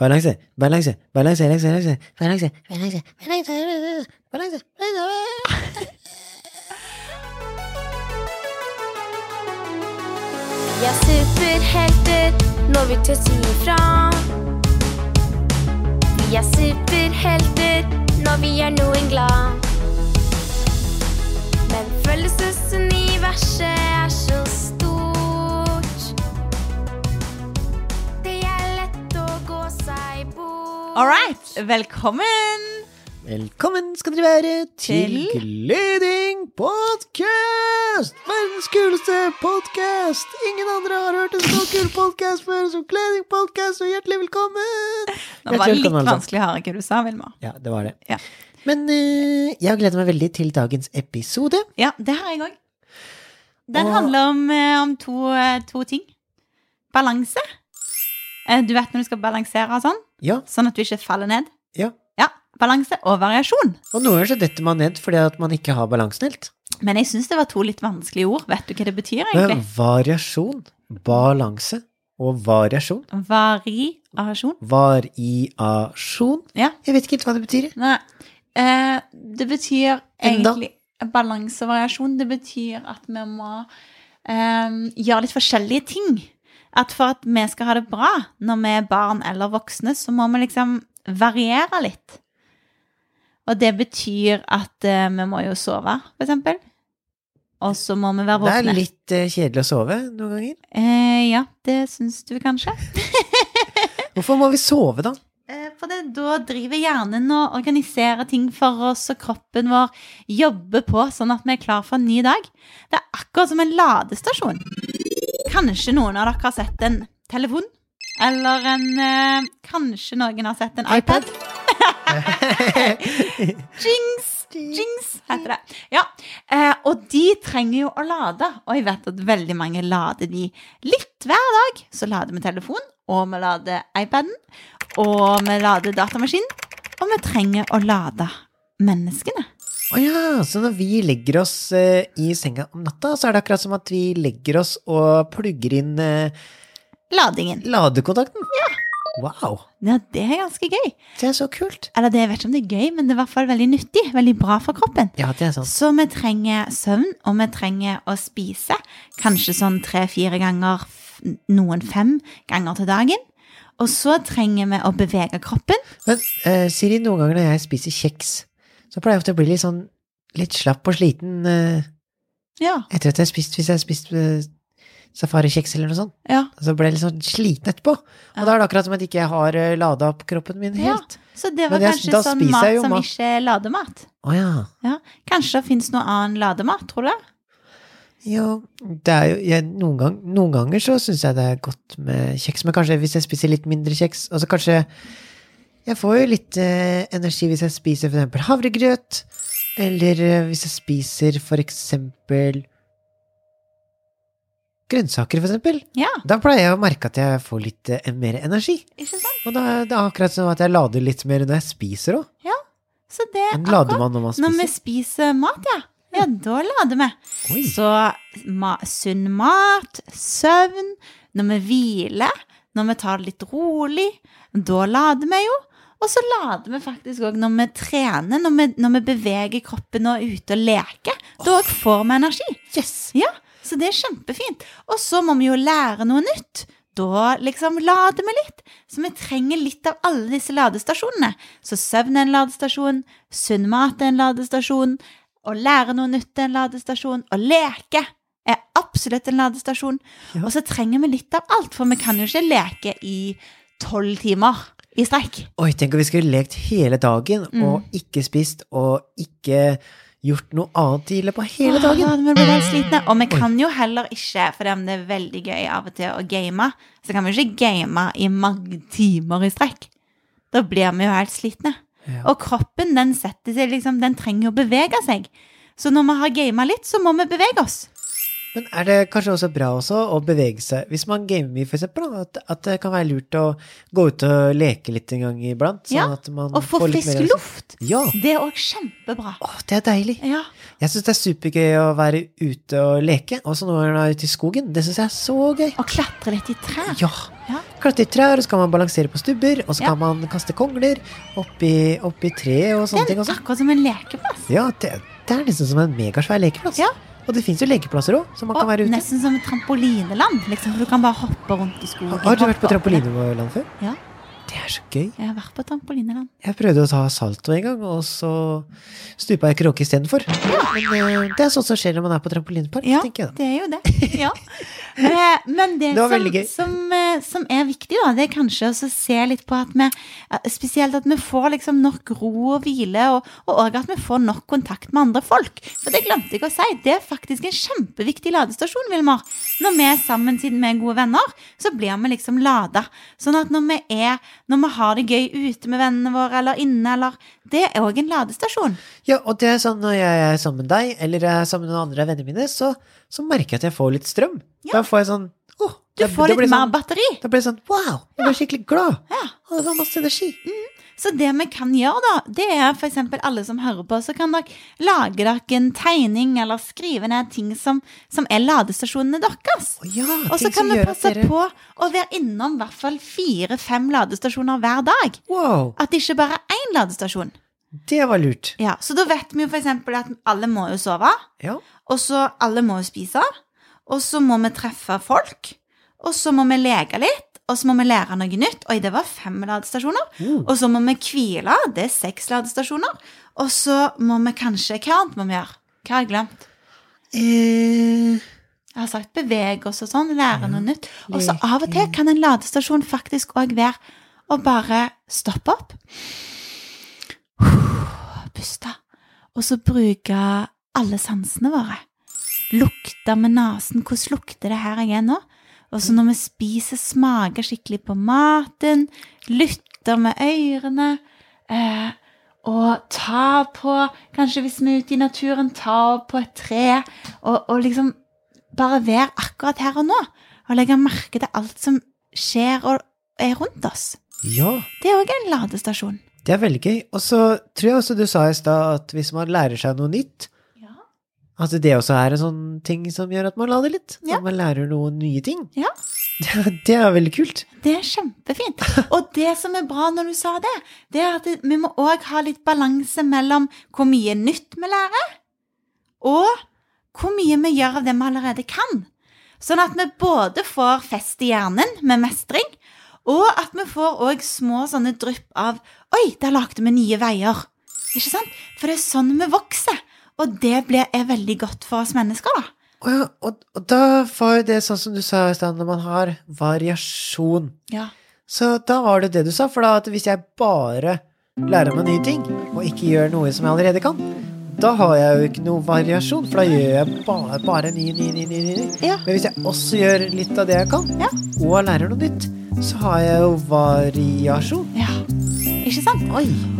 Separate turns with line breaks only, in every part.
Balanse, balanse, balanse, balanse, balanse, balanse, balanse, balanse, balanse, balanse.
Vi er superhelter når vi tør si ifra. Vi er superhelter når vi gjør noen glad. Men følelsesuniverset er så stort. Det er lett å gå seg bort.
All right, velkommen!
Velkommen skal dere være til
Til?
Gliding podcast! Verdens kuleste podcast! Ingen andre har hørt en så kul podcast før som Gliding podcast, og hjertelig velkommen!
Det var
Hjertelig
litt
velkommen, altså.
vanskelig hardere du sa, Vilma.
Ja, det var det.
Ja.
Men eh, jeg gleder meg veldig til dagens episode.
Ja, det har jeg òg. Den
Og-
handler om, eh, om to, eh, to ting. Balanse. Eh, Du vet når du skal balansere og sånn,
Ja,
sånn at du ikke faller ned.
ja.
Ja, balanse og variasjon.
Og noen ganger så detter man ned fordi at man ikke har balansen helt.
Men jeg syns det var to litt vanskelige ord. Vet du hva det betyr,
Men
egentlig?
variasjon, balanse og variasjon.
Variasjon.
Variasjon.
Ja.
Jeg vet ikke helt hva det betyr. jeg.
Nei. Eh, det betyr
Enda.
egentlig balansevariasjon. Det betyr at vi må eh, gjøre litt forskjellige ting. At for at vi skal ha det bra når vi er barn eller voksne, så må vi liksom variere litt. Og det betyr at eh, vi må jo sove, for eksempel. Og så må vi være
Det er
våkne.
litt eh, kjedelig å sove noen ganger.
Eh, ja, det syns du kanskje?
Hvorfor må vi sove, da?
Eh, For det, da driver hjernen og organiserer ting for oss, og kroppen vår jobber på sånn at vi er klar for en ny dag. Det er akkurat som en ladestasjon. Kanskje noen av dere har sett en telefon? Eller en eh, Kanskje noen har sett en iPad? Jings! Jings heter det. Ja. Eh, og de trenger jo å lade, og jeg vet at veldig mange lader de litt hver dag. Så lader vi telefon, og vi lader iPaden, og vi lader datamaskinen. Og vi trenger å lade menneskene.
Å ja, så når vi legger oss eh, i senga om natta, så er det akkurat som at vi legger oss og plugger inn eh,
Ladingen.
ladekontakten? Ja. Wow.
Ja, det er ganske gøy.
Det er så kult.
Eller det, jeg vet ikke om det er gøy, men det er i hvert fall veldig nyttig. Veldig bra for kroppen.
Ja, det er sant.
Så vi trenger søvn, og vi trenger å spise. Kanskje sånn tre-fire ganger, f- noen fem ganger til dagen. Og så trenger vi å bevege kroppen.
Men eh, Siri, noen ganger når jeg spiser kjeks, så pleier jeg ofte å bli litt sånn litt slapp og sliten eh,
Ja.
etter at jeg har spist, hvis jeg har spist eh, safarikjeks eller noe sånt.
ja.
Og så ble jeg litt sånn sliten etterpå. Og da er det akkurat som at jeg ikke har uh, lada opp kroppen min
Ja,
helt.
Så det var
Men jeg- da
kanskje sånn
spiser
mat
jeg jo
som
mat.
ikke er lademat.
Å ja.
Ja. Kanskje det finnes noe annen lademat, tror du?
Jo, det er jo jeg, noen, gang, noen ganger så syns jeg det er godt med kjeks, men kanskje hvis jeg spiser litt mindre kjeks, og så kanskje Jeg får jo litt eh, energi hvis jeg spiser for eksempel havregrøt, eller eh, hvis jeg spiser for eksempel grønnsaker, for eksempel.
Ja,
Da pleier jeg å merke at jeg får litt eh, mer energi.
ikke sant?
Og da det er akkurat som at jeg lader litt mer når jeg spiser òg.
Så det er
Men
akkurat
lader man når man
når vi
spiser?
spiser mat, ja. Ja, da lader vi.
Oi.
Så ma sunn mat, søvn, når vi hviler, når vi tar det litt rolig, da lader vi jo. Og så lader vi faktisk òg når vi trener, når vi, når vi beveger kroppen og er ute og leker. Da òg får vi energi. Ja, så det er kjempefint. Og så må vi jo lære noe nytt. Da liksom lader vi litt. Så vi trenger litt av alle disse ladestasjonene. Så søvn er en ladestasjon, sunn mat er en ladestasjon, å lære noe nytt er en ladestasjon, å leke er absolutt en ladestasjon.
Ja.
Og så trenger vi litt av alt, for vi kan jo ikke leke i tolv timer i strekk.
Oi, tenk om vi skulle lekt hele dagen
Mm.
og ikke spist og ikke gjort noe annet i løpet av hele
Åh,
dagen.
vi blir helt slitne. Og vi kan jo heller ikke, for det er veldig gøy av og til å game, så kan vi jo ikke game i mange timer i strekk. Da blir vi jo helt slitne.
Ja.
Og kroppen, den setter seg liksom, den trenger å bevege seg. Så når vi har gama litt, så må vi bevege oss.
Men er det kanskje også bra også å bevege seg? Hvis man gamer mye, for eksempel, da, at, at det kan være lurt å gå ut og leke litt en gang iblant. Sånn
Ja,
at man
Og få
får litt
frisk
mer
luft.
Ja.
Det er òg kjempebra.
Å, det er deilig.
Ja.
Jeg syns det er supergøy å være ute og leke, også når man er ute i skogen. Det syns jeg er så gøy.
Og klatre litt i trær.
Ja.
Ja.
klatre i trær, og så kan man balansere på stubber, og så
Ja.
kan man kaste kongler oppi, oppi treet og sånne ting. Også.
Akkurat som en lekeplass.
Ja, det, det er nesten som en megasvær lekeplass.
Ja.
Og det fins jo lekeplasser òg, som man kan
Og
være ute i.
nesten som et trampolineland. Liksom, for du kan bare hoppe rundt i skogen.
Har har du vært på
hoppe opp.
trampolineland før?
Ja,
Det er så gøy.
jeg har vært på trampolineland.
Jeg prøvde å ta salto en gang, og så stupa jeg kråke istedenfor. Men eh, det er sånt som skjer når man er på trampolinepark,
Ja,
tenker jeg da.
det er jo det. Ja. Eh, Men det,
Det var
som,
veldig gøy.
som, eh, som er viktig, da, det er kanskje også å se litt på at vi eh, Spesielt at vi får liksom nok ro og hvile, og, og også at vi får nok kontakt med andre folk. For det glemte jeg å si, det er faktisk en kjempeviktig ladestasjon, Vilmar. Når vi er sammen siden vi er gode venner, så blir vi liksom lada. Sånn at når vi er Når vi har det gøy ute med vennene våre, eller inne, eller Det er òg en ladestasjon.
Ja, og det er sånn når jeg er sammen med deg, eller jeg er sammen med noen andre av vennene mine, så, så merker jeg at jeg får litt strøm. Da får jeg sånn åh,
Du
da-
får
da blir
litt
jeg
mer
sånn,
batteri.
Da blir jeg sånn wow, jeg blir skikkelig glad.
Ja.
Og det var masse energi. Mm.
Så det vi kan gjøre, da, det er f.eks. alle som hører på, så kan dere lage dere en tegning eller skrive ned ting som, som er ladestasjonene deres.
Å ja,
Og så
ting
kan
som
vi
gjør at
passe
dere-
på å være innom i hvert fall fire-fem ladestasjoner hver dag.
Wow,
At det ikke bare er én ladestasjon.
det var lurt.
Ja, Så da vet vi jo f.eks. at alle må jo sove,
Ja.
og så alle må jo spise, og så må vi treffe folk, og så må vi leke litt, og så må vi lære noe nytt. Oi, det var fem ladestasjoner.
Mm.
Og så må vi hvile. Det er seks ladestasjoner. Og så må vi kanskje Hva annet må vi gjøre? Hva har jeg glemt?
Eh,
Jeg har sagt bevege oss og sånn. Lære noe nytt. Og så
leke.
av og til kan en ladestasjon faktisk òg være å bare stoppe opp. Puste. Og så bruke alle sansene våre. Lukte med nesen. Hvordan lukter det her igjen nå? Og så når vi spiser, smaker skikkelig på maten. Lytter med ørene. Eh, og ta på Kanskje hvis vi er ute i naturen, ta på et tre. Og, og liksom bare være akkurat her og nå. Og legge merke til alt som skjer og er rundt oss.
ja,
Det er òg en ladestasjon.
det er veldig gøy. Og så tror jeg også du sa i stad at hvis man lærer seg noe nytt,
Ja.
at det også er en sånn ting som gjør at man lader litt.
Ja.
At man lærer noen nye ting.
Ja.
Det, det er veldig kult.
Det er kjempefint. Og det som er bra når du sa det, det er at vi må òg ha litt balanse mellom hvor mye nytt vi lærer, og hvor mye vi gjør av det vi allerede kan. Sånn at vi både får fest i hjernen med mestring, og at vi får òg små sånne drypp av Oi, der lagde vi nye veier. Ikke sant? For det er sånn vi vokser. Og det blir, er veldig godt for oss mennesker, da.
Og, ja, og, og da var jo det sånn som du sa i stad, når man har variasjon.
Ja.
Så da var det det du sa, for da at hvis jeg bare lærer meg nye ting, og ikke gjør noe som jeg allerede kan, da har jeg jo ikke noe variasjon, for da gjør jeg bare, bare nye, nye, nye, nye, nye.
Ja.
Men hvis jeg også gjør litt av det jeg kan,
Ja.
og lærer noe nytt, så har jeg jo variasjon.
Ja, ikke sant?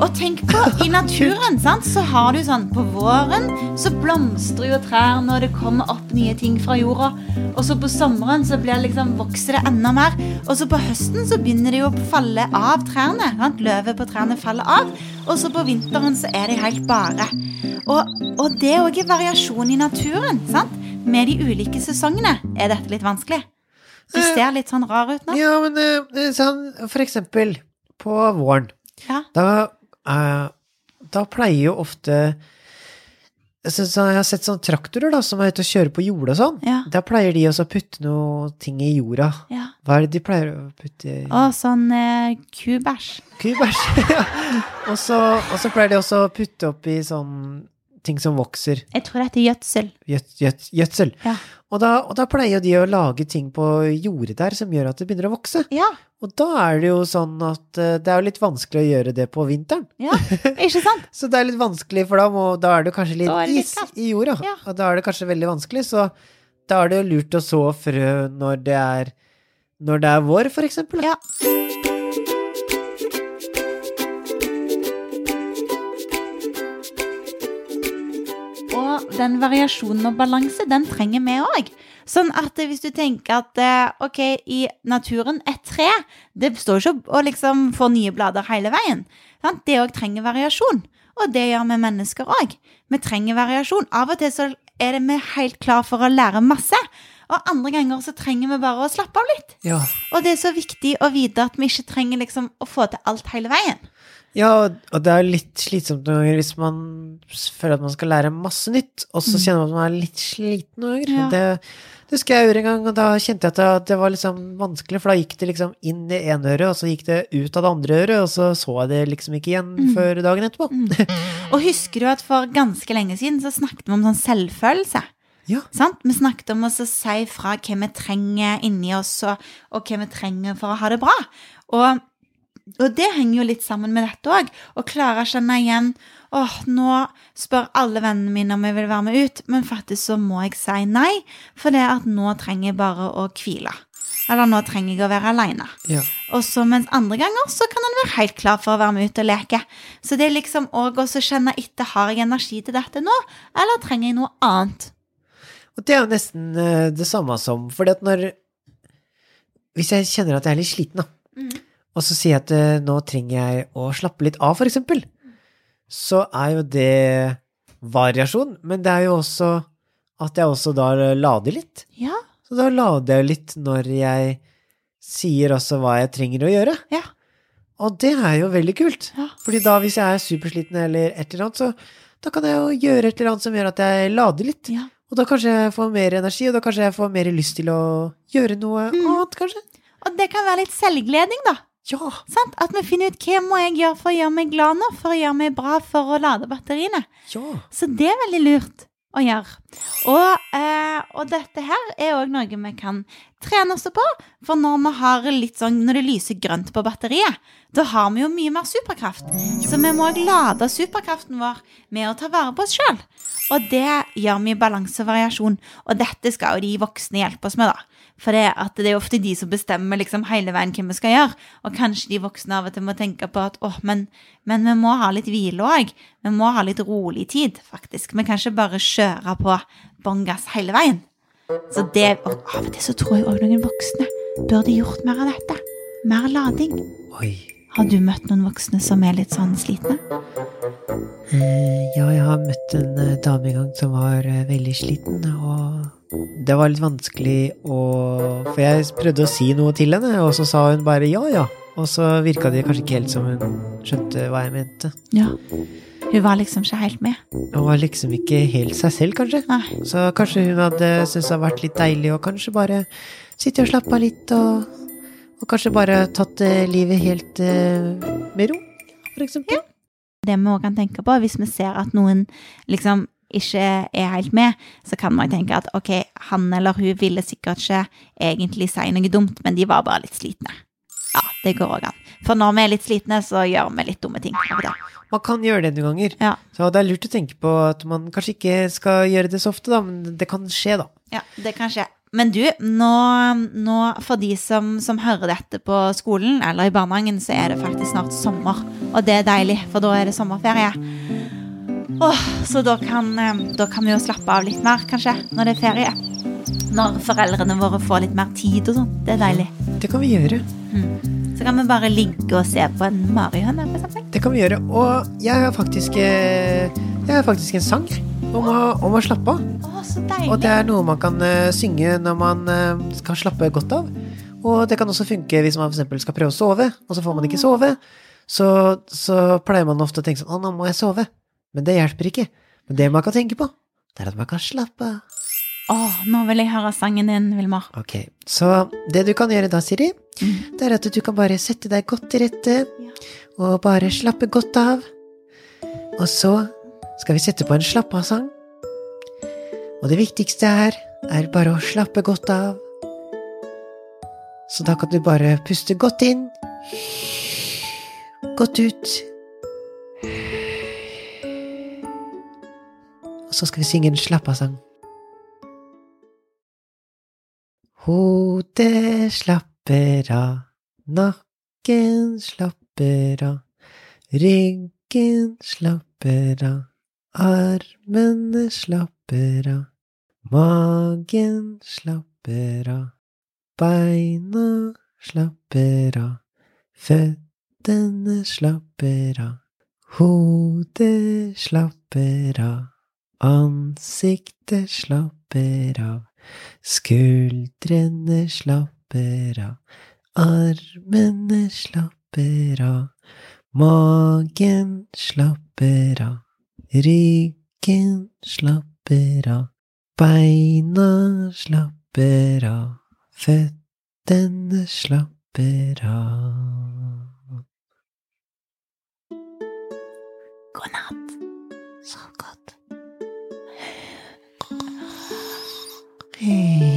Og tenk på, i naturen sant, så har du sånn På våren så blomstrer jo trærne, og det kommer opp nye ting fra jorda. Og så på sommeren så blir det liksom, vokser det enda mer. Og så på høsten så begynner det jo å falle av trærne. Sant? Løvet på trærne faller av. Og så på vinteren så er det helt bare. Og, og det er òg variasjon i naturen, sant? Med de ulike sesongene. Er dette litt vanskelig? Du ser litt sånn rar ut nå.
Ja, men eh, sånn, for eksempel på våren,
Ja.
da, eh, da pleier jo ofte så, så Jeg har sett sånne traktorer da, som er ute og kjører på jorda og sånn.
Ja.
Da pleier de også å putte noe ting i jorda.
ja.
Hva er det de pleier å putte i?
Og sånn eh, kubæsj.
Kubæsj. ja. og, så- og så pleier de også å putte oppi sånn ting som vokser.
Jeg tror det heter gjødsel.
Gjød, gjød, gjødsel.
Ja.
Og, da, og da pleier jo de å lage ting på jordet der som gjør at det begynner å vokse.
Ja,
Og da er det jo sånn at eh, det er jo litt vanskelig å gjøre det på vinteren.
ja, ikke sant?
Så det er litt vanskelig, for da, må, da er det jo kanskje litt,
Da er det litt
is
kaldt.
i jorda.
Ja.
Og da er det kanskje veldig vanskelig, så da er det jo lurt å så frø når det er, når det er vår, for eksempel. da.
Ja. Og den variasjonen og balanse, den trenger vi òg. Sånn at hvis du tenker at eh, ok, i naturen, et tre Det står ikke å liksom få nye blader hele veien. Sant? Det òg trenger variasjon. Og det gjør vi mennesker òg. Vi trenger variasjon. Av og til så er det vi helt klar for å lære masse. Og andre ganger så trenger vi bare å slappe av litt.
Ja.
Og det er så viktig å vite at vi ikke trenger liksom å få til alt hele veien.
ja, og- og det er jo litt slitsomt noen ganger hvis man s- føler at man skal lære masse nytt, og så kjenner man at man er litt sliten noen ganger.
Ja.
Det, det husker jeg gjorde en gang, og da kjente jeg at det, det var liksom vanskelig, for da gikk det liksom inn i ene øret, og så gikk det ut av det andre øret, og så så jeg det liksom ikke igjen
Mm.
før dagen etterpå.
Og husker du at for ganske lenge siden så snakket vi om sånn selvfølelse?
Ja.
Sant? Vi snakket om å så si fra hva vi trenger inni oss, og, og hva vi trenger for å ha det bra. Og, og det henger jo litt sammen med dette òg. Å klare å kjenne igjen åh, nå spør alle vennene mine om jeg vil være med ut, men faktisk så må jeg si nei, for det at nå trenger jeg bare å hvile. Eller nå trenger jeg å være aleine.
Ja.
Og så mens andre ganger så kan en være helt klar for å være med ut og leke. Så det er liksom òg å så kjenne etter har jeg energi til dette nå, eller trenger jeg noe annet.
Og det er jo nesten eh, det samme som Fordi at når Hvis jeg kjenner at jeg er litt sliten, da, og så sier jeg at eh, nå trenger jeg å slappe litt av, for eksempel, så er jo det variasjon. Men det er jo også at jeg også da lader litt.
Ja,
Så da lader jeg litt når jeg sier også hva jeg trenger å gjøre.
ja,
Og det er jo veldig kult.
Ja.
Fordi da hvis jeg er supersliten eller et eller annet, så da kan jeg jo gjøre et eller annet som gjør at jeg lader litt.
ja.
Og da kanskje jeg får mer energi, og da kanskje jeg får mer lyst til å gjøre noe annet, kanskje.
Og det kan være litt selvgledning, da.
Ja.
Sant? At vi finner ut hva må jeg gjøre for å gjøre meg glad nå, for å gjøre meg bra, for å lade batteriene.
Ja.
Så det er veldig lurt å gjøre. Og, eh, og dette her er òg noe vi kan trene oss på. For når, vi har litt sånn, når det lyser grønt på batteriet, da har vi jo mye mer superkraft. Så vi må òg lade superkraften vår med å ta vare på oss sjøl. Og det gjør vi i balanse og variasjon. Og dette skal jo de voksne hjelpe oss med, da. For det, at det er ofte de som bestemmer liksom hele veien hva vi skal gjøre. Og kanskje de voksne av og til må tenke på at åh, men, men vi må ha litt hvile òg. Vi må ha litt rolig tid, faktisk. Vi kan ikke bare kjøre på bånn gass hele veien. Så det, og Av og til så tror jeg òg noen voksne burde gjort mer av dette. Mer lading.
Oi.
Har du møtt noen voksne som er litt sånn slitne?
Eh, ja, jeg har møtt en eh, dame en gang som var eh, veldig sliten, og det var litt vanskelig å For jeg prøvde å si noe til henne, og så sa hun bare ja, ja. Og så virka det kanskje ikke helt som hun skjønte hva jeg mente.
Ja. Hun var liksom ikke helt med.
Hun var liksom ikke helt seg selv, kanskje.
Nei.
Så kanskje hun hadde syntes det hadde vært litt deilig å kanskje bare sitte og slappe av litt, og, og kanskje bare tatt eh, livet helt eh, med ro, for eksempel.
det vi også kan tenke på, hvis vi ser at noen liksom ikke er helt med, så kan man tenke at ok, han eller hun ville sikkert ikke egentlig si noe dumt, men de var bare litt slitne. Ja, det går òg an. For når vi er litt slitne, så gjør vi litt dumme ting. av og til.
Man kan gjøre det noen ganger.
Ja,
Så det er lurt å tenke på at man kanskje ikke skal gjøre det så ofte, da, men det kan skje, da.
ja, det kan skje. Men du, nå, nå for de som, som hører dette på skolen eller i barnehagen, så er det faktisk snart sommer. Og det er deilig, for da er det sommerferie. Åh, så da kan, eh, da kan vi jo slappe av litt mer, kanskje, når det er ferie. Når foreldrene våre får litt mer tid og sånn. Det er deilig. Mm.
Det kan vi gjøre.
Så kan vi bare ligge og se på en marihøne, for eksempel.
Det kan vi gjøre. Og jeg har faktisk, eh, jeg har faktisk en sang om å, om å slappe av.
Åh, så
Og det
deilig.
er noe man kan eh, synge når man eh, skal slappe godt av. Og det kan også funke hvis man for eksempel skal prøve å sove, og så får man ikke sove. Så, så pleier man ofte å tenke sånn 'Å, nå må jeg sove'. Men det hjelper ikke. Men det man kan tenke på, det er at man kan slappe av.
Åh, nå vil jeg høre sangen din, Vilmar.
Ok, Så det du kan gjøre da, Siri, det er at du kan bare sette deg godt til rette, og bare slappe godt av. Og så skal vi sette på en slapp av-sang. Og det viktigste her er bare å slappe godt av. Så da kan du bare puste godt inn, godt ut. Og så skal vi synge en slapp av-sang. Hodet slapper av, nakken slapper av, ryggen slapper av, armene slapper av, magen slapper av, beina slapper av, føttene slapper av, hodet slapper av, ansiktet slapper av. Skuldrene slapper av, armene slapper av, magen slapper av, ryggen slapper av, beina slapper av, føttene slapper av.
God natt. Sov godt.
Hey.